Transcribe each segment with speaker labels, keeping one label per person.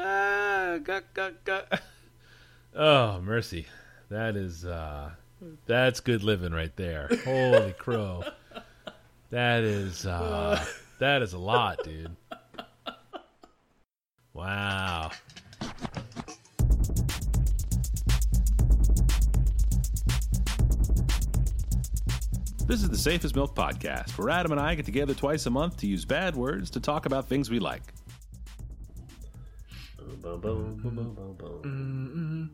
Speaker 1: Ah, gah, gah, gah. Oh, mercy. That is uh that's good living right there. Holy crow. That is uh that is a lot, dude. Wow.
Speaker 2: This is the Safest Milk Podcast, where Adam and I get together twice a month to use bad words to talk about things we like.
Speaker 3: Boom, boom, boom, boom, boom, boom,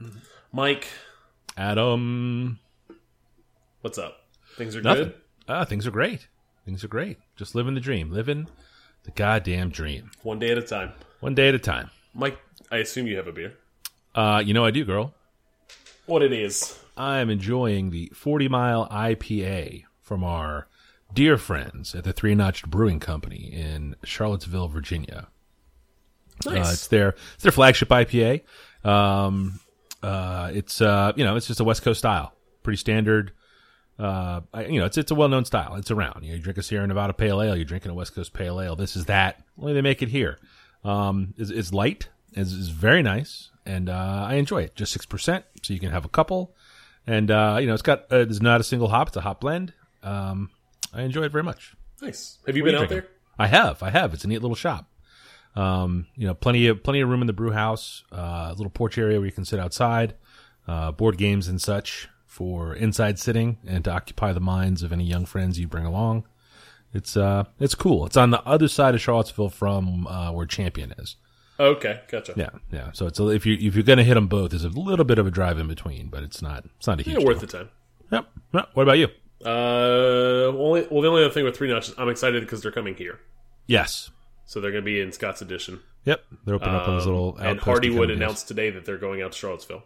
Speaker 3: boom. Mike,
Speaker 1: Adam
Speaker 3: what's up? Things are
Speaker 1: Nothing.
Speaker 3: good.
Speaker 1: Ah, things are great. Things are great. Just living the dream. Living the goddamn dream.
Speaker 3: One day at a time.
Speaker 1: One day at a time.
Speaker 3: Mike, I assume you have a beer.
Speaker 1: Uh, you know I do, girl.
Speaker 3: What it is?
Speaker 1: I am enjoying the 40 Mile IPA from our dear friends at the Three Notched Brewing Company in Charlottesville, Virginia. Uh, it's their it's their flagship IPA. Um, uh, it's uh, you know it's just a West Coast style, pretty standard. Uh, I- you know it's it's a well known style. It's around. You, know, you drink a Sierra Nevada Pale Ale, you're drinking a West Coast Pale Ale. This is that. Only they make it here. Um, is is light. is is very nice, and uh, I enjoy it. Just six percent, so you can have a couple. And uh, you know it's got uh, there's not a single hop. It's a hop blend. Um, I enjoy it very much.
Speaker 3: nice. Have you been out there?
Speaker 1: drinking. I have, I have. It's a neat little shop. Um, you know, plenty of plenty of room in the brew house, uh, little porch area where you can sit outside, uh, board games and such for inside sitting and to occupy the minds of any young friends you bring along. It's uh, it's cool. It's on the other side of Charlottesville from uh, where Champion is.
Speaker 3: Okay, gotcha.
Speaker 1: Yeah, yeah. So it's a, if you if you're gonna hit them both, there's a little bit of a drive in between, but it's not it's not a huge.
Speaker 3: Yeah, worth the time.
Speaker 1: deal. Yep. Yep. What about you?
Speaker 3: Uh, only, well, the only other thing with Three Notches, I'm excited because they're coming here.
Speaker 1: Yes.
Speaker 3: So they're going to be in Scott's Edition.
Speaker 1: Yep. They're opening up on this
Speaker 3: Um,
Speaker 1: little
Speaker 3: and
Speaker 1: outpost of
Speaker 3: Hardywood
Speaker 1: Kevin Gates.
Speaker 3: announced today that they're going out to Charlottesville.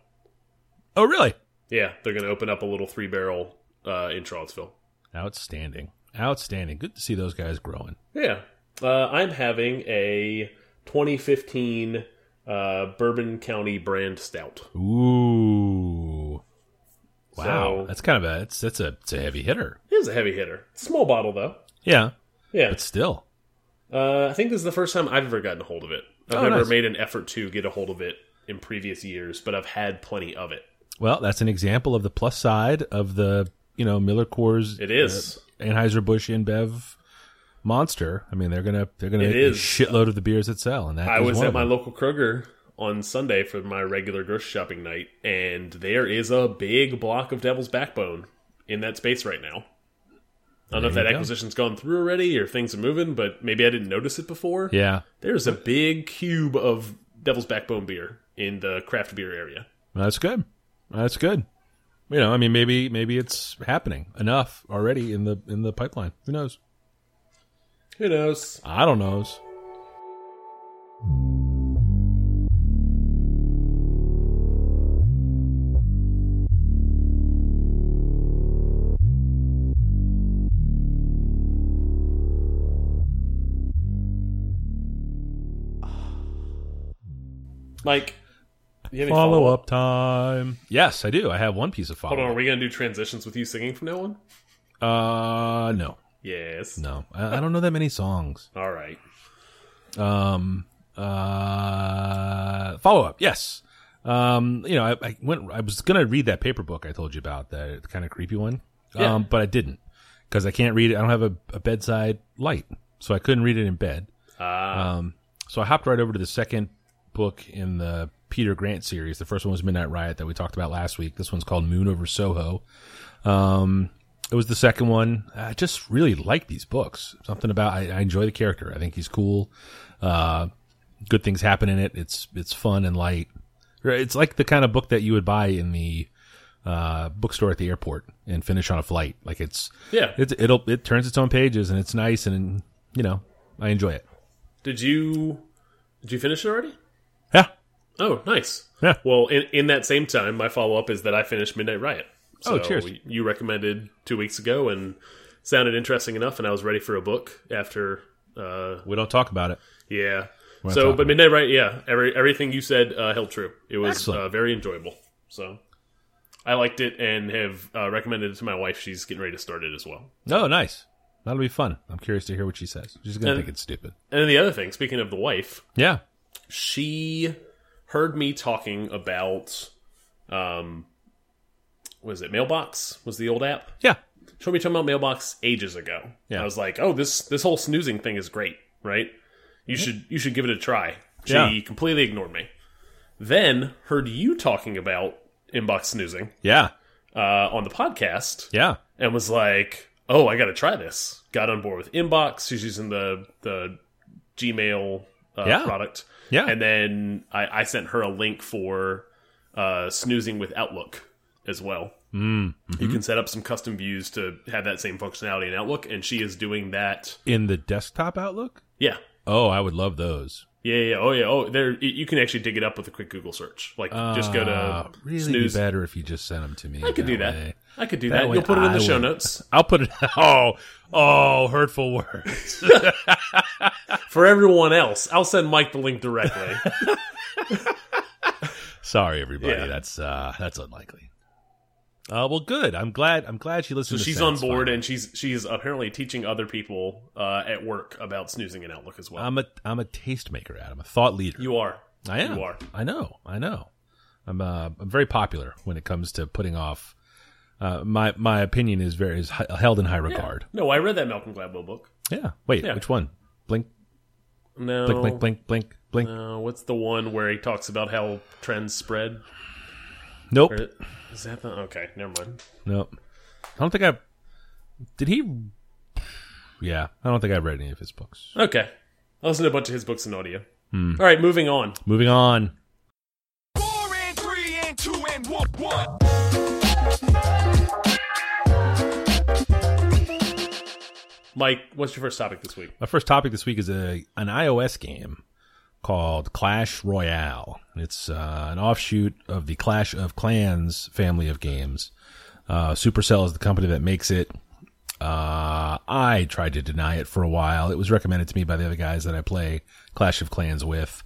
Speaker 1: Oh, really?
Speaker 3: Yeah, they're going to open up a little three barrel uh, in Charlottesville.
Speaker 1: Outstanding. Outstanding. Good to see those guys growing.
Speaker 3: Yeah. Uh, I'm having a 2015 uh, Bourbon County brand stout.
Speaker 1: Ooh. Wow.
Speaker 3: So-
Speaker 1: that's kind of a that's that's a it's a heavy hitter.
Speaker 3: It is a heavy hitter. Small bottle, though.
Speaker 1: Yeah.
Speaker 3: Yeah.
Speaker 1: But still.
Speaker 3: Uh, I think this is the first time I've ever gotten a hold of it. I've
Speaker 1: Oh,
Speaker 3: never
Speaker 1: nice.
Speaker 3: made an effort to get a hold of it in previous years, but I've had plenty of it.
Speaker 1: Well, that's an example of the plus side of the, you know, Miller Coors uh,
Speaker 3: It is.
Speaker 1: Anheuser Busch InBev monster. I mean, they're gonna they're gonna
Speaker 3: It
Speaker 1: make a
Speaker 3: is.
Speaker 1: shitload of the beers that sell and that
Speaker 3: I
Speaker 1: is
Speaker 3: was
Speaker 1: one
Speaker 3: at
Speaker 1: of
Speaker 3: my
Speaker 1: them.
Speaker 3: local Kroger on Sunday for my regular grocery shopping night, and there is a big block of Devil's Backbone in that space right now. I don't know if
Speaker 1: There
Speaker 3: that
Speaker 1: you go.
Speaker 3: acquisition's gone through already or things are moving, but maybe I didn't notice it before.
Speaker 1: Yeah.
Speaker 3: There's a big cube of Devil's Backbone beer in the craft beer area.
Speaker 1: That's good. That's good. You know, I mean maybe maybe it's happening enough already in the in the pipeline. Who knows?
Speaker 3: Who knows?
Speaker 1: I don't knows.
Speaker 3: Mike, you have any
Speaker 1: Follow
Speaker 3: follow-up?
Speaker 1: up time. Yes, I do. I have one piece of
Speaker 3: Hold on, are
Speaker 1: follow up.
Speaker 3: we going to do transitions with you singing from now on?
Speaker 1: Uh, no,
Speaker 3: Yes.
Speaker 1: no, I, I don't know that many songs.
Speaker 3: All right.
Speaker 1: Um, uh, follow up. Yes. Um, you know, I, I went. I was gonna read that paper book I told you about, that kind of creepy one.
Speaker 3: Yeah.
Speaker 1: Um, but I didn't because I can't read it. I don't have a, a bedside light, so I couldn't read it in bed.
Speaker 3: Uh,
Speaker 1: Um, so I hopped right over to the second book in the Peter Grant series. The first one was Midnight Riot that we talked about last week. This one's called Moon Over Soho. Um, it was the second one. I just really like these books. Something about I, I enjoy the character. I think he's cool. Uh, good things happen in it. It's it's fun and light. It's like the kind of book that you would buy in the uh, bookstore at the airport and finish on a flight. Like it's
Speaker 3: yeah.
Speaker 1: it, it'll it turns its own pages and it's nice and you know I enjoy it.
Speaker 3: Did you did you finish it already?
Speaker 1: Yeah.
Speaker 3: Oh, nice.
Speaker 1: Yeah.
Speaker 3: Well, in, in that same time, my follow up is that I finished Midnight Riot.
Speaker 1: Oh, cheers.
Speaker 3: You recommended two weeks ago and sounded interesting enough, and I was ready for a book after. Uh,
Speaker 1: We don't talk about it.
Speaker 3: yeah.
Speaker 1: We're not
Speaker 3: So,
Speaker 1: talking
Speaker 3: but
Speaker 1: about
Speaker 3: Midnight Riot, yeah, every everything you said uh, held true. It was
Speaker 1: Excellent.
Speaker 3: uh, very enjoyable. So, I liked it and have uh, recommended it to my wife. She's getting ready to start it as well.
Speaker 1: Oh, nice. That'll be fun. I'm curious to hear what she says. She's gonna
Speaker 3: And-
Speaker 1: think it's stupid.
Speaker 3: And then the other thing, speaking of the wife,
Speaker 1: Yeah.
Speaker 3: she heard me talking about um was it mailbox was the old app
Speaker 1: Yeah.
Speaker 3: showed me talking about mailbox ages ago
Speaker 1: Yeah.
Speaker 3: i was like oh this this whole snoozing thing is great right you should you should give it a try she
Speaker 1: Yeah.
Speaker 3: completely ignored me then heard you talking about inbox snoozing
Speaker 1: Yeah.
Speaker 3: uh, on the podcast
Speaker 1: Yeah.
Speaker 3: and was like, "Oh, I got to try this." Got on board with Inbox. She's using the the Gmail uh,
Speaker 1: Yeah.
Speaker 3: product,
Speaker 1: Yeah.
Speaker 3: and then I, I sent her a link for uh, snoozing with Outlook as well. Mm. You
Speaker 1: mm-hmm.
Speaker 3: can set up some custom views to have that same functionality in Outlook, and she is doing that.
Speaker 1: In the desktop outlook?
Speaker 3: Yeah.
Speaker 1: Oh, I would love those.
Speaker 3: Yeah, yeah, oh yeah, oh, there. y- You can actually dig it up with a quick Google search. Like, just go to
Speaker 1: Uh, really
Speaker 3: snooze.
Speaker 1: be better if you just sent them to me.
Speaker 3: I could do that.
Speaker 1: way.
Speaker 3: I could do
Speaker 1: That
Speaker 3: that.
Speaker 1: way
Speaker 3: You'll put it in
Speaker 1: I
Speaker 3: the show
Speaker 1: would-
Speaker 3: notes
Speaker 1: I'll put it. Oh, oh, hurtful words.
Speaker 3: for everyone else. I'll send Mike the link directly.
Speaker 1: Sorry, everybody.
Speaker 3: Yeah.
Speaker 1: That's uh, that's unlikely. Uh, well, good. I'm glad. I'm glad she listened.
Speaker 3: So
Speaker 1: to
Speaker 3: she's on
Speaker 1: Sense
Speaker 3: board,
Speaker 1: finally.
Speaker 3: and she's she's apparently teaching other people uh, at work about snoozing and Outlook as well.
Speaker 1: I'm a I'm a tastemaker, Adam. A thought leader.
Speaker 3: you are.
Speaker 1: I am.
Speaker 3: You are.
Speaker 1: I know. I know. I'm uh, I'm very popular when it comes to putting off. Uh, my my opinion is very is hi- held in high regard.
Speaker 3: No, I read that Malcolm Gladwell book.
Speaker 1: Yeah. Wait.
Speaker 3: Yeah.
Speaker 1: Which one? Blink.
Speaker 3: No,
Speaker 1: Blink. Blink. Blink. Blink. Blink.
Speaker 3: no, what's the one where he talks about how trends spread?
Speaker 1: Nope.
Speaker 3: Or- Is that the okay? Never mind.
Speaker 1: Nope. I don't think I. Did he? Yeah, I don't think I've read any of his books.
Speaker 3: Okay, I listened to a bunch of his books in audio.
Speaker 1: Hmm.
Speaker 3: All right, moving on.
Speaker 1: Moving on.
Speaker 4: Four and three and two and one one.
Speaker 3: Mike, what's your first topic this week?
Speaker 1: My first topic this week is a an iOS game called Clash Royale. It's uh, an offshoot of the Clash of Clans family of games. Uh, Supercell is the company that makes it. Uh, I tried to deny it for a while. It was recommended to me by the other guys that I play Clash of Clans with,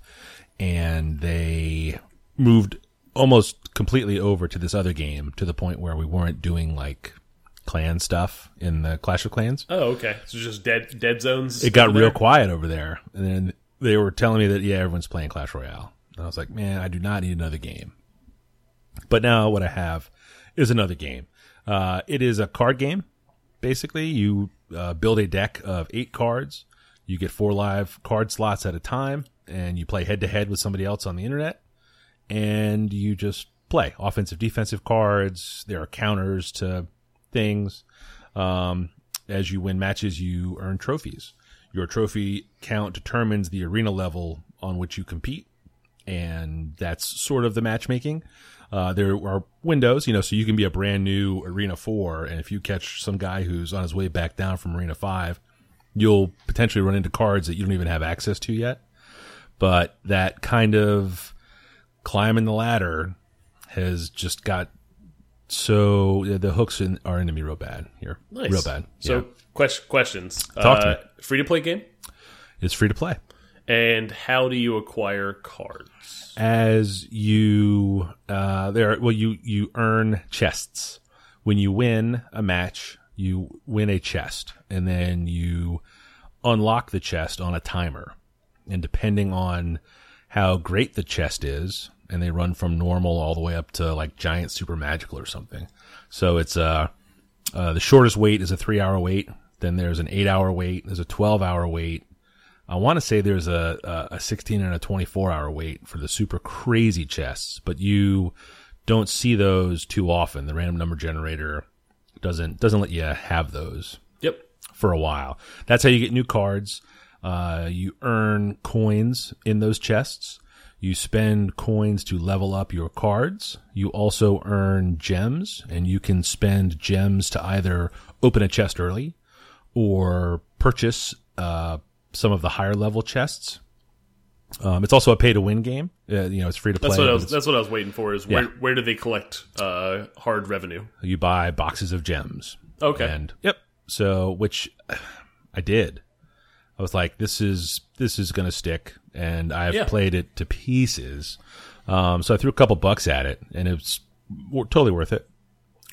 Speaker 1: and they moved almost completely over to this other game to the point where we weren't doing like clan stuff in the Clash of Clans
Speaker 3: Oh, okay. So just dead dead zones.
Speaker 1: it got real quiet over there. And then they were telling me that, yeah, everyone's playing Clash Royale. And I was like, man, I do not need another game. But now what I have is another game. Uh, it is a card game. Basically, you uh, build a deck of eight cards. You get four live card slots at a time, and you play head to head with somebody else on the internet. And you just play offensive, defensive cards. There are counters to things. Um, as you win matches, you earn trophies. Your trophy count determines the arena level on which you compete, and that's sort of the matchmaking. Uh, there are windows, you know, so you can be a brand new Arena 4, and if you catch some guy who's on his way back down from Arena 5, you'll potentially run into cards that you don't even have access to yet. But that kind of climbing the ladder has just got so the- the hooks in, are into me real bad here.
Speaker 3: Nice.
Speaker 1: Real bad.
Speaker 3: So
Speaker 1: Yeah.
Speaker 3: quest questions.
Speaker 1: Talk to me.
Speaker 3: Free to play game.
Speaker 1: It's free to play.
Speaker 3: And how do you acquire cards?
Speaker 1: As you uh there well you you earn chests. When you win a match, you win a chest and then you unlock the chest on a timer. And depending on how great the chest is, and they run from normal all the way up to like giant super magical or something. So it's uh Uh, the shortest wait is a three hour wait. Then there's an eight hour wait. There's a 12 hour wait. I want to say there's a, a, a 16 and a 24 hour wait for the super crazy chests, but you don't see those too often. The random number generator doesn't, doesn't let you have those
Speaker 3: Yep.
Speaker 1: for a while. That's how you get new cards. Uh, you earn coins in those chests. You spend coins to level up your cards. You also earn gems, and you can spend gems to either open a chest early or purchase uh, some of the higher level chests. Um, it's also a pay to win game. Uh, you know, it's free to play.
Speaker 3: That's what I
Speaker 1: but
Speaker 3: was.
Speaker 1: it's-
Speaker 3: That's what I was waiting for. Is where
Speaker 1: Yeah.
Speaker 3: where do they collect uh, hard revenue?
Speaker 1: you buy boxes of gems.
Speaker 3: Okay.
Speaker 1: And yep. So which I did. I was like, this is this is gonna stick, and I've
Speaker 3: Yeah.
Speaker 1: played it to pieces. Um, so I threw a couple bucks at it, and it's w- totally worth it.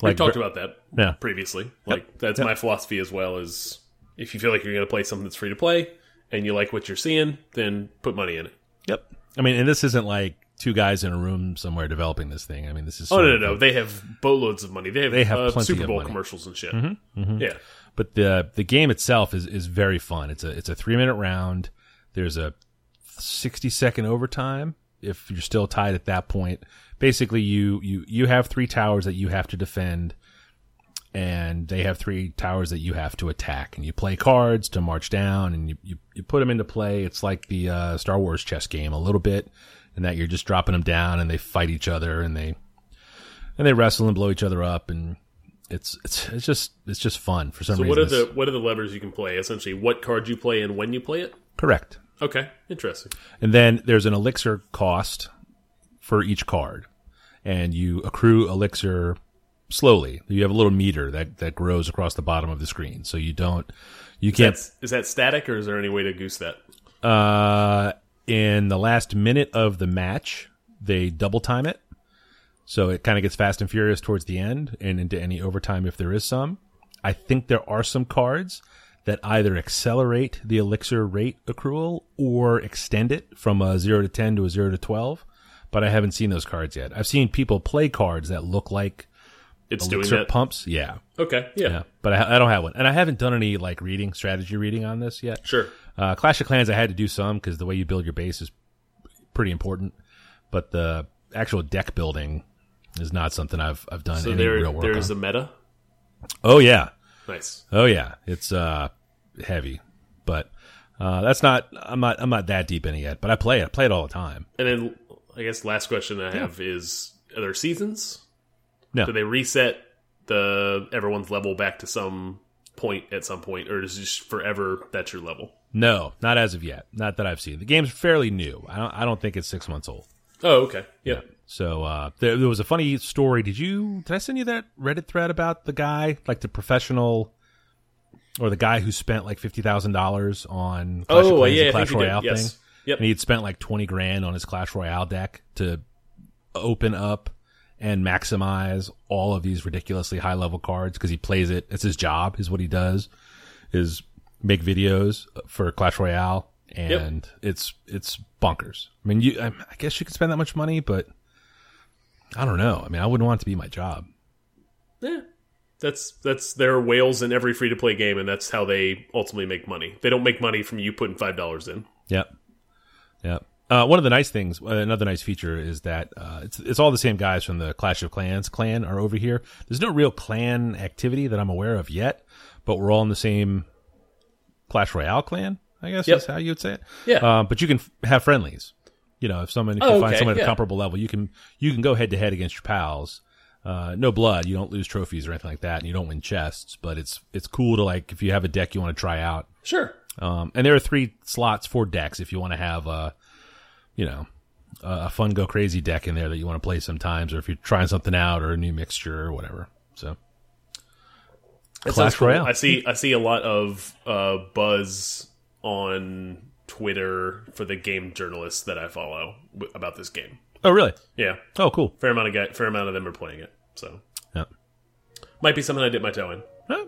Speaker 3: we talked about that
Speaker 1: Yeah.
Speaker 3: previously. Like that's my philosophy as well. Is if you feel like you're going to play something that's free to play and you like what you're seeing, then put money in it.
Speaker 2: Yep.
Speaker 1: I mean, and this isn't like two guys in a room somewhere developing this thing. I mean, this is
Speaker 3: Oh
Speaker 1: sort
Speaker 3: no, no,
Speaker 1: of
Speaker 3: no!
Speaker 1: a-
Speaker 3: They have boatloads of money. They have,
Speaker 1: They have
Speaker 3: uh,
Speaker 1: plenty
Speaker 3: Super
Speaker 1: of
Speaker 3: Bowl
Speaker 1: money. Mm-hmm.
Speaker 3: commercials and shit. Yeah,
Speaker 1: but the the game itself is is very fun. It's a it's a three minute round. There's a sixty second overtime if you're still tied at that point. Basically, you you you have three towers that you have to defend, and they have three towers that you have to attack. And you play cards to march down, and you you, you put them into play. It's like the uh, Star Wars chess game a little bit, in that you're just dropping them down, and they fight each other, and they and they wrestle and blow each other up and. It's, it's it's just it's just fun for some
Speaker 3: So
Speaker 1: reason.
Speaker 3: what are
Speaker 1: it's-
Speaker 3: the what are the levers you can play? Essentially, what card you play and when you play it.
Speaker 1: Correct.
Speaker 3: Okay, interesting.
Speaker 1: And then there's an elixir cost for each card. And you accrue elixir slowly. You have a little meter that, that grows across the bottom of the screen. So you don't, you can't,
Speaker 3: That's is that static or is there any way to goose that?
Speaker 1: uh, in the last minute of the match, they double time it. So it kind of gets fast and furious towards the end and into any overtime if there is some. I think there are some cards that either accelerate the elixir rate accrual or extend it from a 0 to 10 to a 0 to 12, but I haven't seen those cards yet. I've seen people play cards that look like
Speaker 3: It's doing
Speaker 1: elixir
Speaker 3: that.
Speaker 1: pumps. Yeah.
Speaker 3: Okay, yeah,
Speaker 1: Yeah. But I, I don't have one. And I haven't done any like reading, strategy reading on this yet.
Speaker 3: sure.
Speaker 1: Uh, Clash of Clans, I had to do some because the way you build your base is pretty important, but the actual deck building is not something I've I've done
Speaker 3: So
Speaker 1: any
Speaker 3: there
Speaker 1: real work
Speaker 3: there is
Speaker 1: on.
Speaker 3: a meta.
Speaker 1: oh yeah,
Speaker 3: Nice.
Speaker 1: oh yeah, it's uh heavy, but uh, that's not I'm not I'm not that deep in it yet. But I play it, I play it all the time.
Speaker 3: And then I guess last question I have is: Are there seasons?
Speaker 1: No.
Speaker 3: Do they reset the everyone's level back to some point at some point, or is it just forever that's your level?
Speaker 1: No, not as of yet, not that I've seen. The game's fairly new. I don't I don't think it's six months old.
Speaker 3: Oh, okay. Yeah.
Speaker 1: So uh, there, there was a funny story. Did you? Did I send you that Reddit thread about the guy, like the professional, or the guy who spent like fifty thousand dollars on Clash of
Speaker 3: Oh,
Speaker 1: Clans
Speaker 3: yeah, I
Speaker 1: and
Speaker 3: think
Speaker 1: Clash
Speaker 3: you did.
Speaker 1: Royale
Speaker 3: Yes.
Speaker 1: thing?
Speaker 3: Yep.
Speaker 1: And he'd spent like twenty grand on his Clash Royale deck to open up and maximize all of these ridiculously high level cards because he plays it. It's his job. Is what he does. Is make videos for Clash Royale, and it's it's bonkers. I mean, you. I, I guess you could spend that much money, but I don't know. I mean, I wouldn't want it to be my job.
Speaker 3: Yeah. That's that's their whales in every free to play game, and that's how they ultimately make money. They don't make money from you putting five dollars in.
Speaker 1: Yep. Yep. Uh, one of the nice things, uh, another nice feature is that uh, it's it's all the same guys from the Clash of Clans clan are over here. There's no real clan activity that I'm aware of yet, but we're all in the same Clash Royale clan. I guess
Speaker 3: Yep.
Speaker 1: is how you would say it.
Speaker 3: Yeah.
Speaker 1: Uh, but you can f- have friendlies. You know, if someone if you
Speaker 3: Oh,
Speaker 1: find
Speaker 3: okay,
Speaker 1: someone at
Speaker 3: yeah.
Speaker 1: a comparable level, you can you can go head to head against your pals. Uh, no blood. You don't lose trophies or anything like that, and you don't win chests. But it's it's cool to like if you have a deck you want to try out,
Speaker 3: Sure.
Speaker 1: um, and there are three slots for decks if you want to have a, you know, a a fun go crazy deck in there that you want to play sometimes, or if you're trying something out or a new mixture or whatever. So, Clash Royale.
Speaker 3: I see I see a lot of uh, buzz on Twitter for the game journalists that I follow w about this game.
Speaker 1: Oh, really?
Speaker 3: Yeah.
Speaker 1: Oh, cool.
Speaker 3: Fair amount of guy, fair amount of them are playing it. So
Speaker 1: Yeah. Oh.
Speaker 3: might be something I dip my toe in.
Speaker 1: Huh?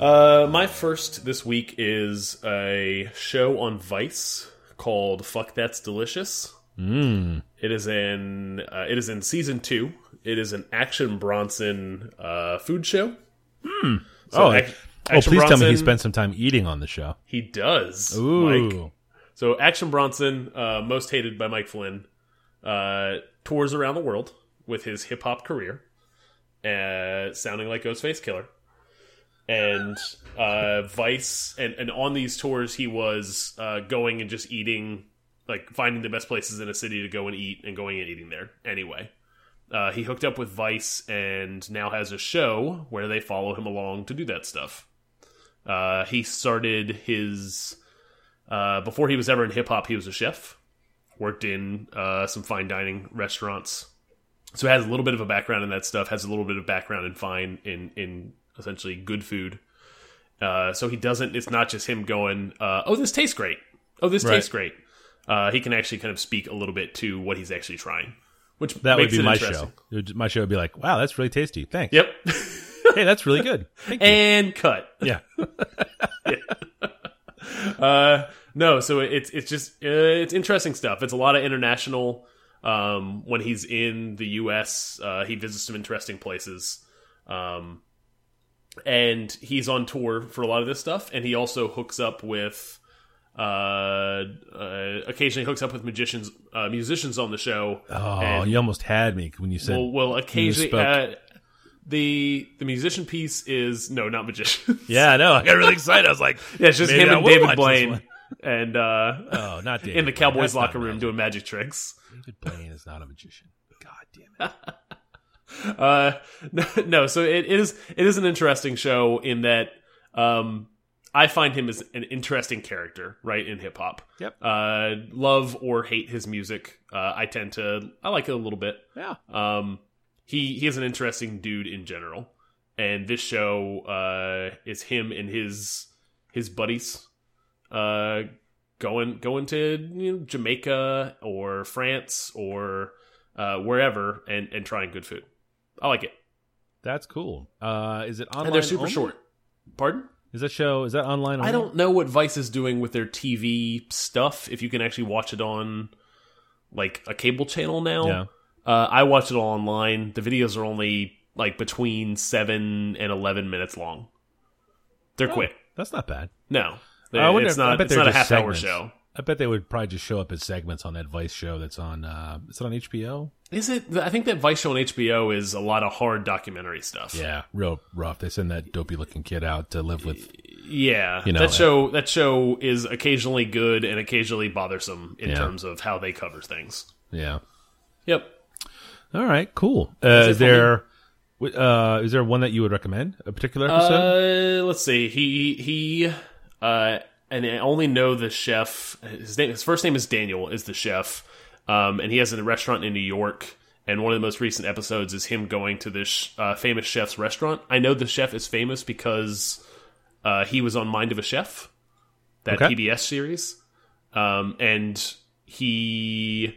Speaker 3: Uh, my first this week is a show on Vice called "Fuck That's Delicious."
Speaker 1: Mm.
Speaker 3: It is in uh, it is in season two. It is an Action Bronson uh, food show. So
Speaker 1: oh,
Speaker 3: Ac-
Speaker 1: oh, please tell me he
Speaker 3: Action Bronson-
Speaker 1: spent some time eating on the show.
Speaker 3: He does. Mike.
Speaker 1: Ooh.
Speaker 3: So Action Bronson, uh, most hated by Mike Flynn, uh, tours around the world with his hip hop career, uh, sounding like Ghostface Killer. And uh, Vice, and, and on these tours, he was uh, going and just eating, like finding the best places in a city to go and eat and going and eating there anyway. Uh, he hooked up with Vice and now has a show where they follow him along to do that stuff. Uh, he started his uh, before he was ever in hip hop, he was a chef, worked in uh, some fine dining restaurants, so has a little bit of a background in that stuff. Has a little bit of background in fine in in essentially good food. Uh, so he doesn't. It's not just him going, uh, "Oh, this tastes great. Oh, this
Speaker 1: Right.
Speaker 3: tastes great." Uh, he can actually kind of speak a little bit to what he's actually trying, which
Speaker 1: That
Speaker 3: makes
Speaker 1: would be
Speaker 3: it
Speaker 1: my
Speaker 3: interesting.
Speaker 1: show. It would- My show would be like, wow, that's really tasty. Thanks.
Speaker 3: Yep,
Speaker 1: Hey, that's really good. Thank you.
Speaker 3: and cut.
Speaker 1: yeah.
Speaker 3: Uh, no, so it's it's just uh, it's interesting stuff. It's a lot of international. Um, when he's in the U.S., uh, he visits some interesting places, um, and he's on tour for a lot of this stuff. And he also hooks up with, uh, uh occasionally hooks up with magicians, uh, musicians on the show.
Speaker 1: Oh,
Speaker 3: And-
Speaker 1: you almost had me when you said
Speaker 3: Well, well, occasionally uh,
Speaker 1: misspoke.
Speaker 3: the the musician piece is no, not magicians.
Speaker 1: Yeah, I know. I got really excited. I was like,
Speaker 3: yeah, it's just
Speaker 1: Maybe
Speaker 3: him
Speaker 1: I
Speaker 3: and
Speaker 1: will
Speaker 3: David
Speaker 1: watch this
Speaker 3: Blaine,
Speaker 1: one.
Speaker 3: and uh,
Speaker 1: oh, not David.
Speaker 3: in the
Speaker 1: Blaine.
Speaker 3: Cowboys
Speaker 1: That's not
Speaker 3: locker room
Speaker 1: magic.
Speaker 3: doing magic tricks.
Speaker 1: David Blaine is not a magician. God damn it.
Speaker 3: Uh, no, no, so it is it is an interesting show in that um, I find him as an interesting character, right? In hip hop,
Speaker 1: Yep.
Speaker 3: Uh, love or hate his music, uh, I tend to I like it a little bit.
Speaker 1: Yeah.
Speaker 3: Um, he he is an interesting dude in general, and this show uh, is him and his his buddies uh, going going to you know, Jamaica or France or uh, wherever and and trying good food. I like it,
Speaker 1: That's cool. Uh, is it online?
Speaker 3: and they're super
Speaker 1: only?
Speaker 3: short. Pardon?
Speaker 1: Is that show? Is that online?
Speaker 3: I
Speaker 1: only?
Speaker 3: don't know what Vice is doing with their TV stuff. If you can actually watch it on like a cable channel now,
Speaker 1: Yeah.
Speaker 3: uh, I watch it all online. The videos are only like between seven and eleven minutes long. They're quick.
Speaker 1: That's not bad.
Speaker 3: No,
Speaker 1: I wonder
Speaker 3: it's
Speaker 1: if- I
Speaker 3: not.
Speaker 1: bet
Speaker 3: It's
Speaker 1: they're
Speaker 3: not a
Speaker 1: just
Speaker 3: half hour
Speaker 1: segments.
Speaker 3: show.
Speaker 1: I bet they would probably just show up as segments on that Vice show that's on. Uh, is it on HBO?
Speaker 3: Is it? I think that Vice show on HBO is a lot of hard documentary stuff.
Speaker 1: Yeah, real rough. They send that dopey looking kid out to live with.
Speaker 3: yeah.
Speaker 1: You know,
Speaker 3: that
Speaker 1: uh,
Speaker 3: show that show is occasionally good and occasionally bothersome in
Speaker 1: Yeah.
Speaker 3: terms of how they cover things.
Speaker 1: Yeah.
Speaker 3: Yep.
Speaker 1: All right. Cool. Uh, is
Speaker 3: it for me?
Speaker 1: there? w- Uh, is there one that you would recommend? A particular episode?
Speaker 3: Uh, let's see. He he uh and I only know the chef. His name his first name is Daniel is the chef. Um and he has a restaurant in New York and one of the most recent episodes is him going to this uh, famous chef's restaurant. I know the chef is famous because uh, he was on Mind of a Chef, that
Speaker 1: Okay.
Speaker 3: PBS series. Um and he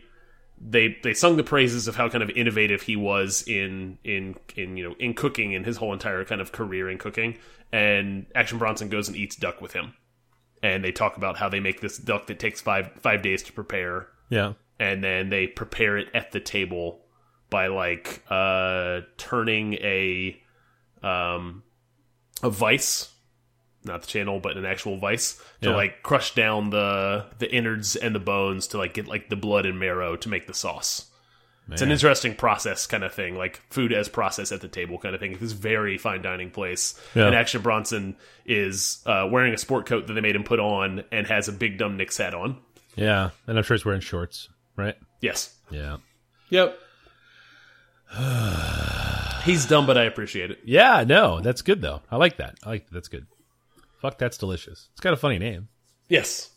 Speaker 3: they they sung the praises of how kind of innovative he was in in in you know in cooking and his whole entire kind of career in cooking. And Action Bronson goes and eats duck with him, and they talk about how they make this duck that takes five five days to prepare,
Speaker 1: yeah.
Speaker 3: and then they prepare it at the table by like uh turning a um a vice not the channel but an actual vice to
Speaker 1: Yeah.
Speaker 3: like crush down the the innards and the bones to like get like the blood and marrow to make the sauce it's an
Speaker 1: Man.
Speaker 3: interesting process kind of thing, like food as process at the table kind of thing. It's this very fine dining place.
Speaker 1: Yeah.
Speaker 3: And Action Bronson is uh, wearing a sport coat that they made him put on and has a big dumb Nick's hat on.
Speaker 1: Yeah, and I'm sure it's wearing shorts, right?
Speaker 3: Yes.
Speaker 1: Yeah.
Speaker 3: Yep. He's dumb, but I appreciate it.
Speaker 1: Yeah, no, that's good though. I like that. I like that's good. Fuck, that's delicious. It's got a funny name.
Speaker 3: Yes.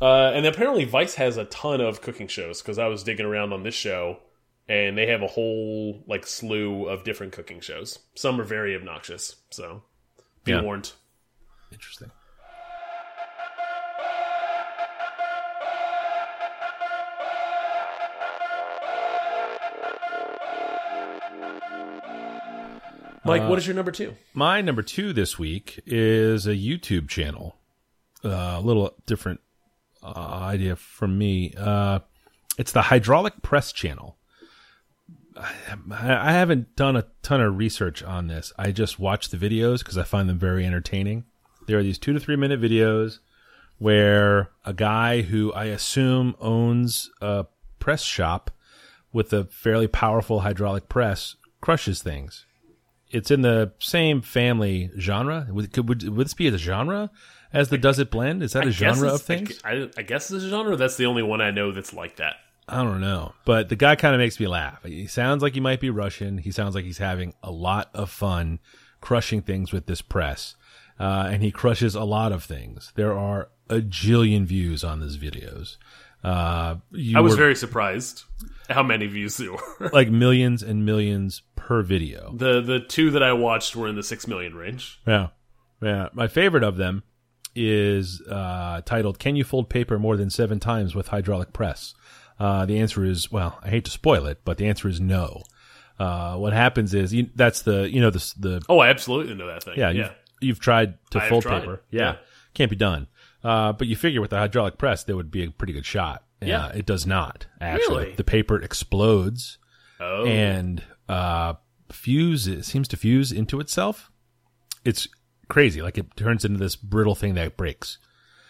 Speaker 3: Uh, and apparently Vice has a ton of cooking shows because I was digging around on this show and they have a whole like slew of different cooking shows. Some are very obnoxious, so be
Speaker 1: Yeah.
Speaker 3: warned.
Speaker 1: Interesting.
Speaker 3: Mike,
Speaker 1: Uh,
Speaker 3: what is your number two?
Speaker 1: My number two this week is a YouTube channel. Uh, a little different uh, idea from me. Uh, it's the Hydraulic Press Channel. I, I haven't done a ton of research on this. I just watch the videos because I find them very entertaining. There are these two to three minute videos where a guy who I assume owns a press shop with a fairly powerful hydraulic press crushes things. It's in the same family genre. Would, could, would, would this be a genre as the Does It Blend? Is that a genre
Speaker 3: guess
Speaker 1: of things?
Speaker 3: it's- I, I guess it's a genre. That's the only one I know that's like that.
Speaker 1: I don't know, but the guy kind of makes me laugh. He sounds like he might be Russian. He sounds like he's having a lot of fun crushing things with this press. Uh, and he crushes a lot of things. There are a jillion views on these videos. Uh, you
Speaker 3: I was
Speaker 1: were-
Speaker 3: very surprised how many views there were.
Speaker 1: like millions and millions per video.
Speaker 3: the the two that I watched were in the six million range.
Speaker 1: Yeah. Yeah. My favorite of them is uh, titled Can You Fold Paper More Than Seven Times with Hydraulic Press? Uh, the answer is, well, I hate to spoil it, but the answer is no. Uh, what happens is you, that's the you know the s- the
Speaker 3: Oh, I absolutely know that thing.
Speaker 1: yeah,
Speaker 3: yeah.
Speaker 1: You've, you've tried to
Speaker 3: I have
Speaker 1: fold
Speaker 3: tried.
Speaker 1: paper. Yeah.
Speaker 3: Yeah.
Speaker 1: Can't be done. Uh, but you figure with the hydraulic press, there would be a pretty good shot.
Speaker 3: Yeah.
Speaker 1: Uh, it does not, actually.
Speaker 3: Really?
Speaker 1: The paper explodes
Speaker 3: Oh,
Speaker 1: and uh, fuse, it seems to fuse into itself. It's crazy. Like it turns into this brittle thing that breaks.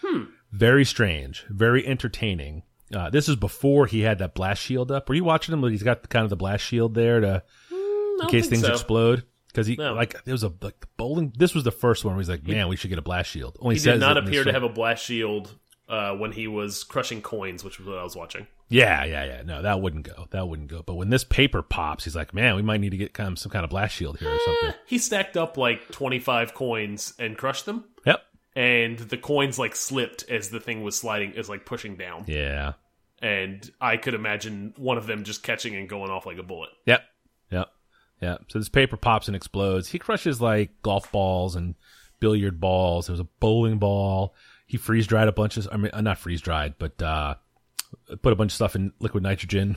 Speaker 1: Hmm. Very strange. Very entertaining. Uh, this is before he had that blast shield up. Were you watching him? He's got kind of the blast shield there to
Speaker 3: I
Speaker 1: in
Speaker 3: don't
Speaker 1: case
Speaker 3: think
Speaker 1: things
Speaker 3: so.
Speaker 1: explode. Because he
Speaker 3: No.
Speaker 1: like there was a like the bowling. This was the first one where he's like, man, we should get a blast shield. Only
Speaker 3: He
Speaker 1: says
Speaker 3: did not
Speaker 1: it in his
Speaker 3: appear to
Speaker 1: film.
Speaker 3: have a blast shield uh, when he was crushing coins, which was what I was watching.
Speaker 1: Yeah, yeah, yeah. No, that wouldn't go. That wouldn't go. But when this paper pops, he's like, man, we might need to get kind of some kind of blast shield here
Speaker 3: Eh.
Speaker 1: or something.
Speaker 3: He stacked up like 25 coins and crushed them,
Speaker 1: Yep.
Speaker 3: and the coins like slipped as the thing was sliding, is like pushing down.
Speaker 1: Yeah.
Speaker 3: And I could imagine one of them just catching and going off like a bullet.
Speaker 1: Yep. Yep. Yep. So this paper pops and explodes. He crushes like golf balls and billiard balls. There was a bowling ball. He freeze dried a bunch of, I mean, uh, not freeze dried, but, uh, put a bunch of stuff in liquid nitrogen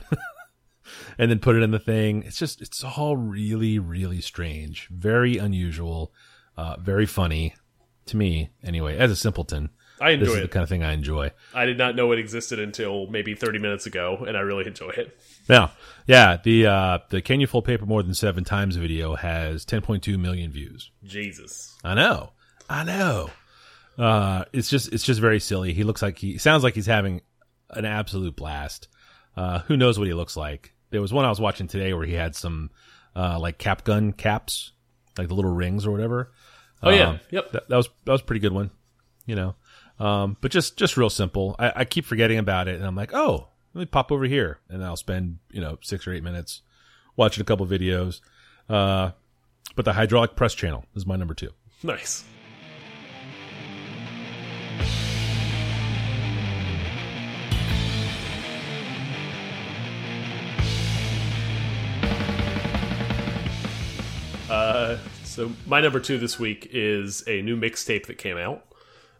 Speaker 1: and then put it in the thing. It's just, it's all really, really strange. Very unusual. Uh, very funny to me anyway, as a simpleton.
Speaker 3: I
Speaker 1: This
Speaker 3: enjoy
Speaker 1: is the
Speaker 3: it.
Speaker 1: kind of thing I enjoy.
Speaker 3: I did not know it existed until maybe 30 minutes ago, and I really enjoy it.
Speaker 1: Yeah, yeah. The uh, the can you fold paper more than seven times video has 10.2 million views.
Speaker 3: Jesus.
Speaker 1: I know. I know. Uh, it's just it's just very silly. He looks like he sounds like he's having an absolute blast. Uh, who knows what he looks like? There was one I was watching today where he had some uh, like cap gun caps, like the little rings or whatever.
Speaker 3: Oh, yeah.
Speaker 1: Um,
Speaker 3: Yep.
Speaker 1: That, that was that was a pretty good one, you know. Um, but just just real simple. I, I keep forgetting about it, and I'm like, oh, let me pop over here, and I'll spend you know six or eight minutes watching a couple videos. Uh, but the hydraulic press channel is my number two.
Speaker 3: Nice. Uh, so my number two this week is a new mixtape that came out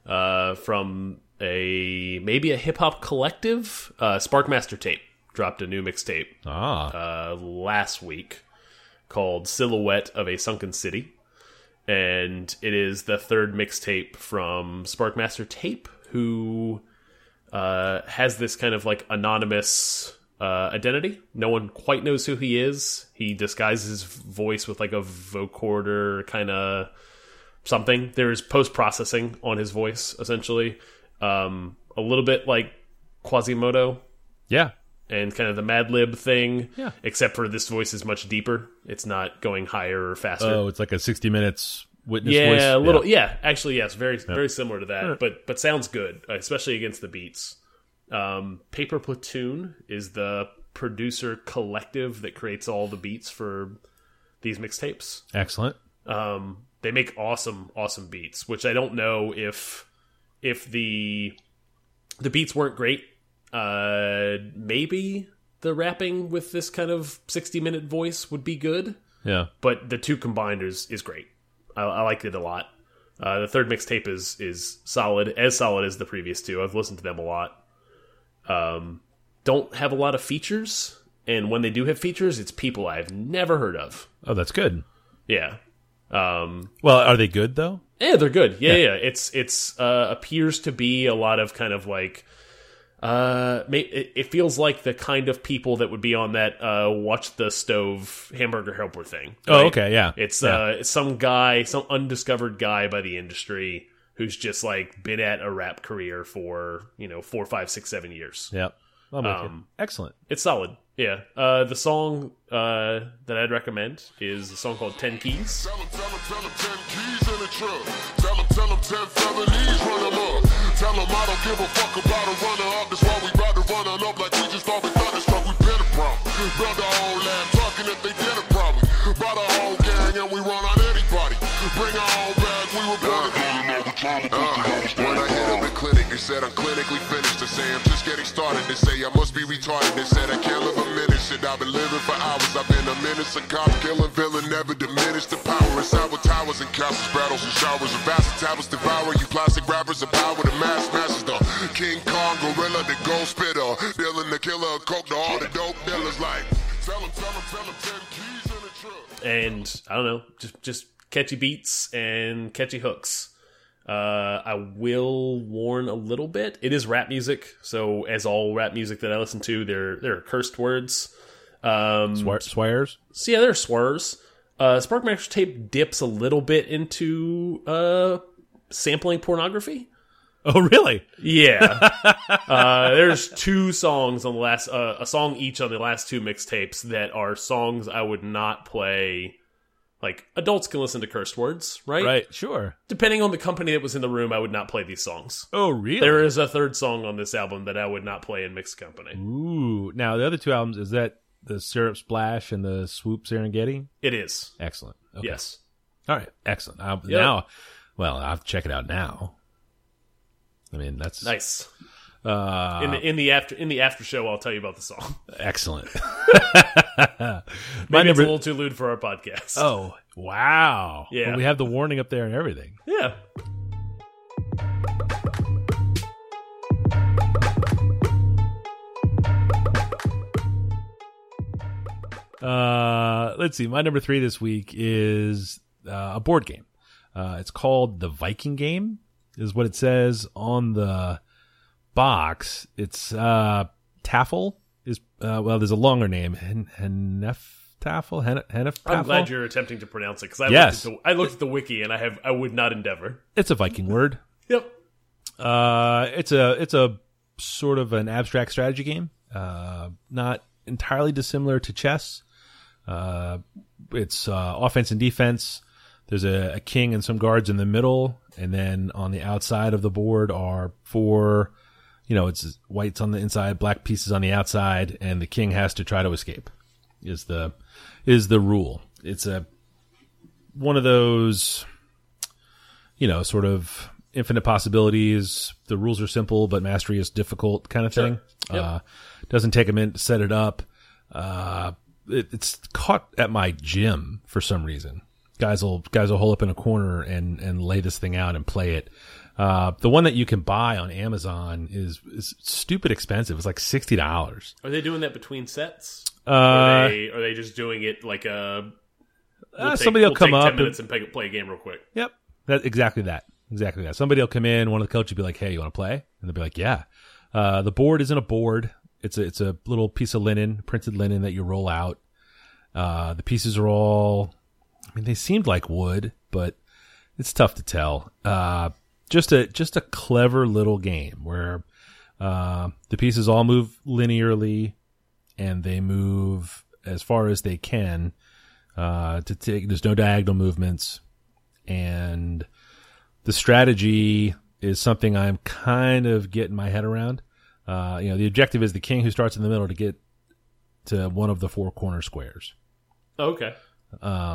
Speaker 3: uh, from a maybe a hip hop collective. Uh, Sparkmaster Tape dropped a new mixtape
Speaker 1: Ah,
Speaker 3: uh, last week called Silhouette of a Sunken City. And it is the third mixtape from Sparkmaster Tape, who uh, has this kind of like anonymous uh, identity. No one quite knows who he is. He disguises his voice with like a vocoder kind of something. There is post processing on his voice, essentially. Um, a little bit like Quasimodo
Speaker 1: yeah,
Speaker 3: and kind of the Mad Lib thing.
Speaker 1: Yeah.
Speaker 3: Except for this voice is much deeper. It's not going higher or faster.
Speaker 1: Oh, it's like a 60 minutes witness
Speaker 3: yeah,
Speaker 1: voice.
Speaker 3: a little. Yeah. actually, yes, very very similar to that. But but sounds good, especially against the beats. Um, Paper Platoon is the producer collective that creates all the beats for these mixtapes.
Speaker 1: Excellent.
Speaker 3: Um, they make awesome, awesome beats, which I don't know if if the the beats weren't great. Uh, maybe the rapping with this kind of sixty minute voice would be good,
Speaker 1: Yeah.
Speaker 3: but the two combined is is great. I, I liked it a lot. Uh, the third mixtape is is solid, as solid as the previous two. I've listened to them a lot. Um, don't have a lot of features, and when they do have features, it's people I've never heard of.
Speaker 1: Oh, that's good.
Speaker 3: Yeah. Um,
Speaker 1: Well, are they good though?
Speaker 3: yeah, they're good. Yeah, yeah. It's it's uh, appears to be a lot of kind of like uh, ma- it, it feels like the kind of people that would be on that uh, watch the stove hamburger helper thing.
Speaker 1: Oh,
Speaker 3: right?
Speaker 1: okay. Yeah.
Speaker 3: It's
Speaker 1: yeah.
Speaker 3: uh, some guy, some undiscovered guy by the industry who's just like been at a rap career for you know four, five, six, seven years.
Speaker 1: Yep. I'm with you.
Speaker 3: um,
Speaker 1: Excellent.
Speaker 3: It's solid. Yeah. Uh, the song uh, that I'd recommend is a song called Ten Keys.
Speaker 5: Tell 'em, tell 'em, tell 'em 10 keys in the truck. Tell 'em, tell 'em 10 felonies run 'em up. Tell 'em I don't give a fuck about a runner up. That's why we ride the runner up like we just all been thunderstruck. We been a problem. Build our whole lab talking if they did a problem. Bought our whole gang and we run on anybody. Bring our own bag, we were born to
Speaker 6: Uh, when I hit up the clinic, it's
Speaker 5: said I'm clinically finished. They say I'm just getting started. They say I must be retarded. They said I can't live a minute. Shit, I've been living for hours. I've been a menace, a cop, killing villain, never diminish the power. Inside with towers and castles, battles and showers of acid tablets devour you plastic rappers. The power to mass masses, the King Kong gorilla, the gold spitter, dealing the killer, coke to all the dope dealers. Like, tell 'em, tell 'em, tell 'em, ten keys in a truck.
Speaker 3: and I don't know, just just catchy beats and catchy hooks. Uh, I will warn a little bit. It is rap music, so as all rap music that I listen to, there there are cursed words. Um,
Speaker 1: Swar- swears.
Speaker 3: so yeah, there are swerves. Uh, Sparkmaster Tape dips a little bit into uh, sampling pornography.
Speaker 1: Oh, really?
Speaker 3: Yeah, uh, there's two songs on the last, uh, a song each on the last two mixtapes that are songs I would not play. Like adults can listen to cursed words, right?
Speaker 1: Right. Sure.
Speaker 3: Depending on the company that was in the room, I would not play these songs.
Speaker 1: Oh, really?
Speaker 3: There is a third song on this album that I would not play in mixed company.
Speaker 1: Ooh. Now the other two albums is that the Syrup Splash and the Swoop Serengeti.
Speaker 3: It is
Speaker 1: Excellent. Okay.
Speaker 3: yes.
Speaker 1: All right. Excellent. I'll,
Speaker 3: Yeah.
Speaker 1: Now, well, I'll check it out now. I mean, that's
Speaker 3: Nice.
Speaker 1: uh,
Speaker 3: in the in the after in the after show, I'll tell you about the song.
Speaker 1: excellent.
Speaker 3: Maybe
Speaker 1: My
Speaker 3: it's a
Speaker 1: number.
Speaker 3: little too lewd for our podcast.
Speaker 1: Oh, wow.
Speaker 3: Yeah.
Speaker 1: Well, we have the warning up there and everything.
Speaker 3: Yeah.
Speaker 1: Uh, let's see. My number three this week is uh, a board game. Uh, it's called the Viking Game, is what it says on the box. It's uh, Taffel is uh, well. There's a longer name. Hen Henef Taffel. Hen Henef.
Speaker 3: I'm
Speaker 1: Taffel?
Speaker 3: glad you're attempting to pronounce it because I,
Speaker 1: Yes.
Speaker 3: looked at the- I looked at the wiki and I have I would not endeavor.
Speaker 1: It's a Viking word.
Speaker 3: Yep.
Speaker 1: Uh, it's a it's a sort of an abstract strategy game. Uh, not entirely dissimilar to chess. Uh, it's uh, offense and defense. There's a, a king and some guards in the middle, and then on the outside of the board are four. You know, it's whites on the inside, black pieces on the outside, and the king has to try to escape. Is the is the rule? It's a one of those you know, sort of infinite possibilities. The rules are simple, but mastery is difficult kind of thing. Uh, doesn't take a minute to set it up. Uh, it, it's caught at my gym for some reason. Guys will, guys will hole up in a corner and, and lay this thing out and play it. Uh, the one that you can buy on Amazon is, is stupid expensive. It's like $60.
Speaker 3: Are they doing that between sets?
Speaker 1: Uh,
Speaker 3: are, they, are they just doing it like a?
Speaker 1: uh, somebody will
Speaker 3: we'll
Speaker 1: come
Speaker 3: take
Speaker 1: up
Speaker 3: ten
Speaker 1: and-
Speaker 3: minutes and play, play a game real quick.
Speaker 1: Yep. That exactly that. Exactly that. Somebody will come in, one of the coaches will be like, "Hey, you want to play?" And they'll be like, "Yeah." Uh, the board isn't a board. It's a it's a little piece of linen, printed linen that you roll out. Uh, the pieces are all. I mean, they seemed like wood, but it's tough to tell. Uh, just a just a clever little game where uh, the pieces all move linearly, and they move as far as they can. Uh, to take there's no diagonal movements and the strategy is something I'm kind of getting my head around. Uh, you know, the objective is the king who starts in the middle to get to one of the four corner squares, Oh,
Speaker 3: Okay.
Speaker 1: but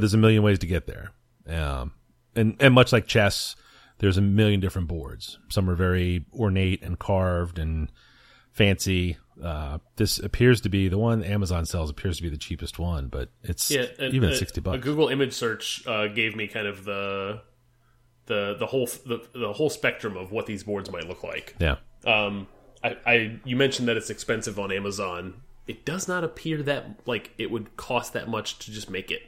Speaker 1: there's a million ways to get there. Um, and and much like chess, there's a million different boards. Some are very ornate and carved and fancy. Uh, this appears to be the one Amazon sells appears to be the cheapest one, but it's
Speaker 3: Yeah. a-
Speaker 1: even
Speaker 3: a-
Speaker 1: at sixty
Speaker 3: A
Speaker 1: bucks.
Speaker 3: Google image search uh, gave me kind of the the the whole the, the whole spectrum of what these boards might look like.
Speaker 1: yeah,
Speaker 3: Um, I, I you mentioned that it's expensive on Amazon. It does not appear that like it would cost that much to just make it.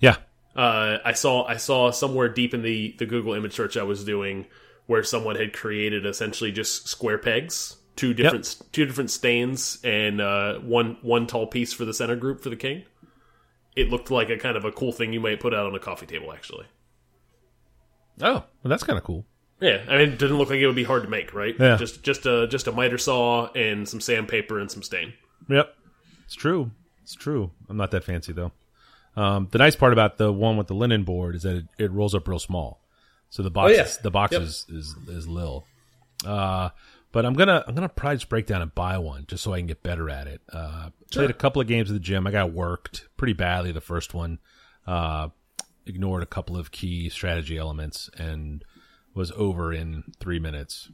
Speaker 1: yeah,
Speaker 3: uh, I saw I saw somewhere deep in the the Google image search I was doing where someone had created essentially just square pegs, two different two different stains, and uh, one one tall piece for the center group for the king. It looked like a kind of a cool thing you might put out on a coffee table, actually.
Speaker 1: Oh, well, that's kind of cool.
Speaker 3: Yeah, I mean, it didn't look like it would be hard to make, right?
Speaker 1: Yeah.
Speaker 3: Just just a just a miter saw and some sandpaper and some stain.
Speaker 1: Yep. It's true. It's true. I'm not that fancy though. Um, the nice part about the one with the linen board is that it, it rolls up real small. So the box
Speaker 3: Oh, yeah.
Speaker 1: is, the box
Speaker 3: Yep.
Speaker 1: is, is is lil. Uh but I'm gonna I'm gonna probably just break down and buy one just so I can get better at it. Uh played a couple of games at the gym. I got worked pretty badly the first one. Uh ignored a couple of key strategy elements and was over in three minutes,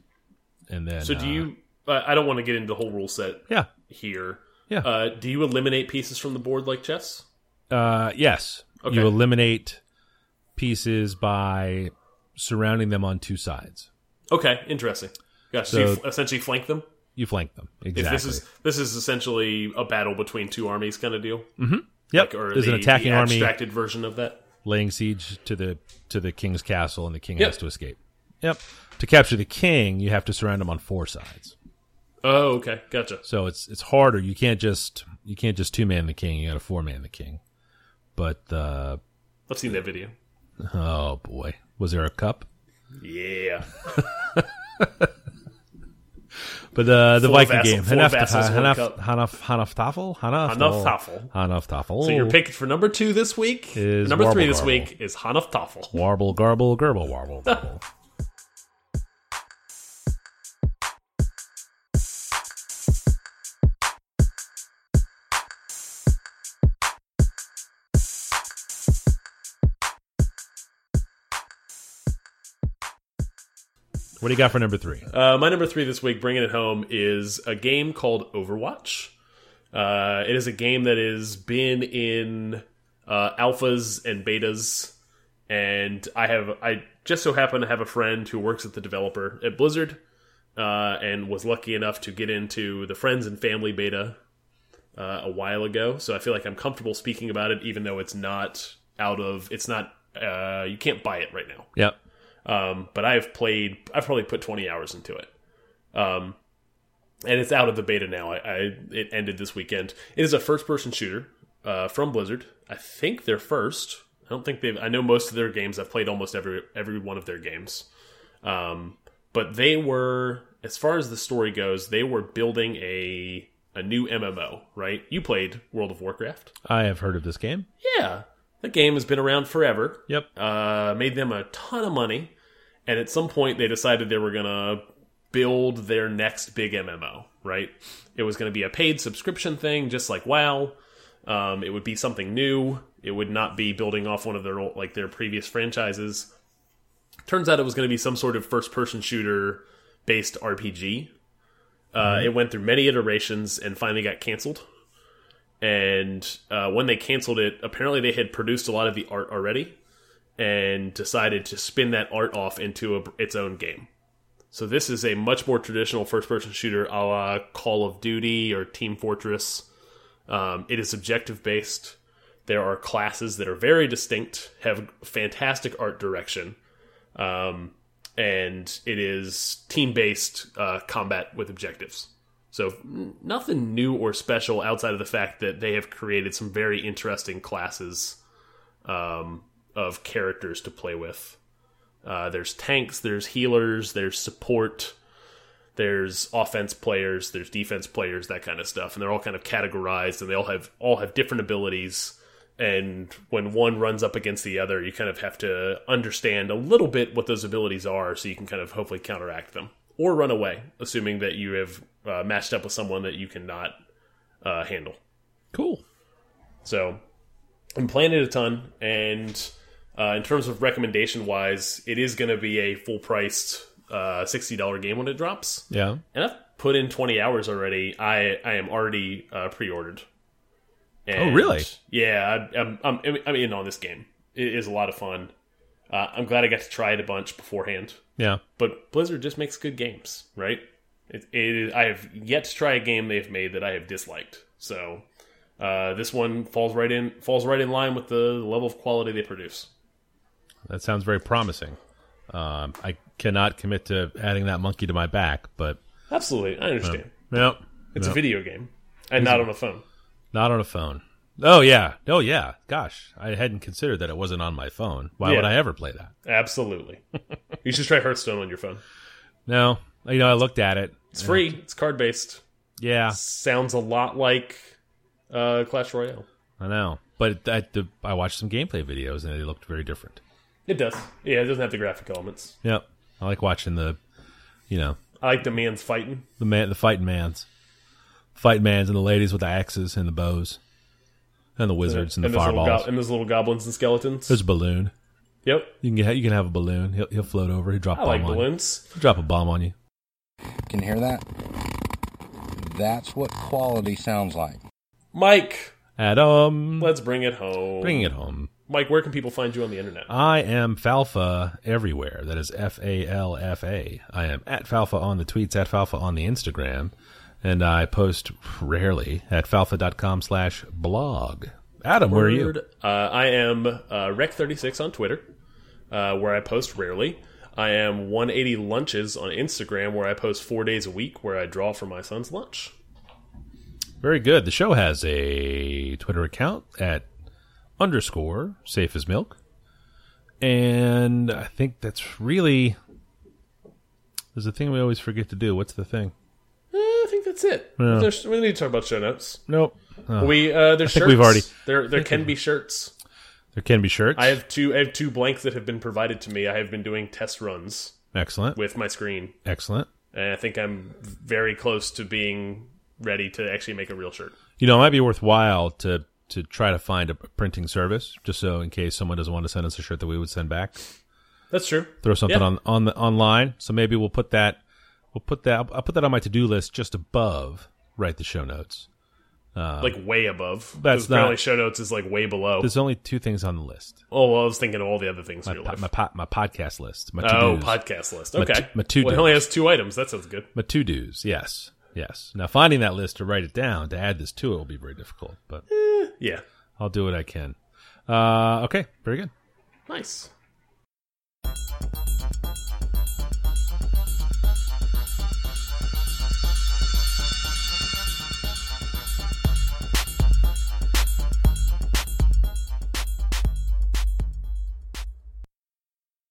Speaker 1: and then uh,
Speaker 3: So do you? I I don't want to get into the whole rule set
Speaker 1: Yeah,
Speaker 3: here.
Speaker 1: Yeah.
Speaker 3: Uh, do you eliminate pieces from the board like chess?
Speaker 1: Uh, yes.
Speaker 3: Okay.
Speaker 1: You eliminate pieces by surrounding them on two sides.
Speaker 3: Okay, interesting. Gotcha. So, you
Speaker 1: So-
Speaker 3: fl- essentially flank them.
Speaker 1: You flank them.
Speaker 3: If
Speaker 1: Exactly.
Speaker 3: this is this is essentially a battle between two armies kind of deal.
Speaker 1: yep.
Speaker 3: Like, or
Speaker 1: There's
Speaker 3: the,
Speaker 1: an attacking
Speaker 3: the
Speaker 1: army
Speaker 3: abstracted version of that.
Speaker 1: laying siege to the to the king's castle, and the king
Speaker 3: Yep.
Speaker 1: has to escape. Yep. To capture the king, you have to surround him on four sides.
Speaker 3: Oh, okay, gotcha.
Speaker 1: So it's it's harder. You can't just you can't just two man the king. You got to four man the king. But uh,
Speaker 3: I've seen that video.
Speaker 1: oh boy, was there a cup?
Speaker 3: Yeah,
Speaker 1: But uh, the
Speaker 3: Four
Speaker 1: Viking
Speaker 3: vassal-
Speaker 1: game,
Speaker 3: four
Speaker 1: Hanaf
Speaker 3: vassals, one
Speaker 1: Hanaf
Speaker 3: cup.
Speaker 1: Hanaf Hanaf Tafel Hanaf
Speaker 3: Hanaf Tafel.
Speaker 1: Hanaf Tafel.
Speaker 3: So your pick for number two this week,
Speaker 1: Oh. Is
Speaker 3: number
Speaker 1: Warble
Speaker 3: three this
Speaker 1: Garble.
Speaker 3: week is Hanaf Toffel.
Speaker 1: Warble, garble, gerbil, warble, garble. what do you got for number three?
Speaker 3: Uh, my number three this week, bringing it home, is a game called Overwatch. Uh, it is a game that has been in uh, alphas and betas, and I have I just so happen to have a friend who works at the developer at Blizzard, uh, and was lucky enough to get into the friends and family beta uh, a while ago. So I feel like I'm comfortable speaking about it, even though it's not out of it's not uh, you can't buy it right now.
Speaker 1: Yep.
Speaker 3: Um, but I've played, I've probably put 20 hours into it. Um, and it's out of the beta now. I, I it ended this weekend. It is a first-person shooter uh, from Blizzard. I think they're first. I don't think they've. I know most of their games. I've played almost every every one of their games. Um, but they were, as far as the story goes, they were building a a new MMO. Right? You played World of Warcraft.
Speaker 1: I have heard of this game.
Speaker 3: Yeah, the game has been around forever
Speaker 1: Yep.
Speaker 3: uh, made them a ton of money, and at some point they decided they were gonna build their next big MMO. Right? It was gonna be a paid subscription thing, just like WoW. Um, it would be something new. It would not be building off one of their old, like their previous franchises. Turns out it was going to be some sort of first-person shooter based RPG. Uh, It went through many iterations and finally got canceled. And uh, when they canceled it, apparently they had produced a lot of the art already and decided to spin that art off into a, its own game. So this is a much more traditional first-person shooter, a la Call of Duty or Team Fortress. Um, it is objective-based. There are classes that are very distinct, have fantastic art direction, um, and it is team-based uh, combat with objectives. So n- nothing new or special outside of the fact that they have created some very interesting classes um, of characters to play with. Uh, there's tanks, there's healers, there's support, there's offense players, there's defense players, that kind of stuff, and they're all kind of categorized, and they all have all have different abilities. And when one runs up against the other, you kind of have to understand a little bit what those abilities are, so you can kind of hopefully counteract them or run away, assuming that you have uh, matched up with someone that you cannot uh, handle.
Speaker 1: Cool.
Speaker 3: So I'm playing it a ton, and uh, in terms of recommendation wise, it is going to be a full priced uh, sixty dollar game when it drops.
Speaker 1: Yeah.
Speaker 3: And I've put in twenty hours already. I I am already uh, pre ordered. And,
Speaker 1: Oh, really?
Speaker 3: Yeah, I, I'm, I'm I'm in on this game. It is a lot of fun. Uh, I'm glad I got to try it a bunch beforehand
Speaker 1: Yeah.
Speaker 3: but Blizzard just makes good games, right? It, it, I have yet to try a game they've made that I have disliked. So uh, this one falls right in falls right in line with the level of quality they produce.
Speaker 1: That sounds very promising. Um, I cannot commit to adding that monkey to my back, but
Speaker 3: Absolutely, I understand.
Speaker 1: Yep.
Speaker 3: It's a video game and not on a phone.
Speaker 1: Not on a phone. Oh yeah. Oh yeah. Gosh, I hadn't considered that it wasn't on my phone. Why would
Speaker 3: Yeah.
Speaker 1: I ever play that?
Speaker 3: Absolutely, you should try Hearthstone on your phone.
Speaker 1: No. You know, I looked at it.
Speaker 3: It's free. It's card based.
Speaker 1: Yeah,
Speaker 3: Sounds a lot like uh, Clash Royale.
Speaker 1: I know. But I, the, I watched some gameplay videos and they looked very different.
Speaker 3: It does. Yeah, it doesn't have the graphic elements.
Speaker 1: Yep. I like watching the, you know,
Speaker 3: I like the man's fighting.
Speaker 1: the man, the fighting mans, fighting mans, and the ladies with the axes and the bows, and the wizards and the
Speaker 3: those little go-
Speaker 1: fireballs.
Speaker 3: and those little goblins and skeletons.
Speaker 1: There's a balloon.
Speaker 3: Yep.
Speaker 1: You can get, you can have a balloon. He'll he'll float over. He'll drop
Speaker 3: I
Speaker 1: bomb
Speaker 3: like
Speaker 1: on
Speaker 3: balloons.
Speaker 1: you. Drop a bomb on you.
Speaker 6: Can you hear that? That's what quality sounds like.
Speaker 3: Mike,
Speaker 1: Adam,
Speaker 3: let's bring it home.
Speaker 1: bring it home.
Speaker 3: Mike, where can people find you on the internet?
Speaker 1: I am Falfa everywhere. That is F A L F A. I am at Falfa on the tweets, at Falfa on the Instagram, and I post rarely at falfa.com slash blog. Adam, where are you?
Speaker 3: Uh, I am uh, Rec36 on Twitter, uh, where I post rarely. I am 180 Lunches on Instagram, where I post four days a week, where I draw for my son's lunch.
Speaker 1: Very good. The show has a Twitter account at underscore safe as milk. And I think that's really there's a thing we always forget to do. What's the thing?
Speaker 3: Eh, I think that's it. There's- We need to talk about show notes.
Speaker 1: Nope. Oh,
Speaker 3: We uh, there's
Speaker 1: think
Speaker 3: shirts.
Speaker 1: we've already-
Speaker 3: there there can be shirts.
Speaker 1: there can be shirts.
Speaker 3: I have two I have two blanks that have been provided to me. I have been doing test runs
Speaker 1: Excellent.
Speaker 3: with my screen,
Speaker 1: Excellent.
Speaker 3: and I think I'm very close to being ready to actually make a real shirt.
Speaker 1: You know, it might be worthwhile to to try to find a printing service just so in case someone doesn't want to send us a shirt that we would send back.
Speaker 3: That's true.
Speaker 1: Throw something
Speaker 3: Yeah.
Speaker 1: on on the online. So maybe we'll put that we'll put that I'll put that on my to-do list just above write the show notes.
Speaker 3: like way above.
Speaker 1: Um, That's
Speaker 3: 'Cause apparently
Speaker 1: not-
Speaker 3: show notes is like way below.
Speaker 1: There's only two things on the list.
Speaker 3: Oh, well, I was thinking of all the other things in your
Speaker 1: Po-
Speaker 3: life.
Speaker 1: my po- my podcast list. My
Speaker 3: oh,
Speaker 1: to-dos.
Speaker 3: podcast list.
Speaker 1: My
Speaker 3: Okay.
Speaker 1: t- my to-dos.
Speaker 3: Well, it only has two items. That sounds good.
Speaker 1: my to-dos. Yes. Yes. Now finding that list to write it down to add this to it will be very difficult, but
Speaker 3: Yeah.
Speaker 1: I'll do what I can. Uh, okay, very good.
Speaker 3: Nice.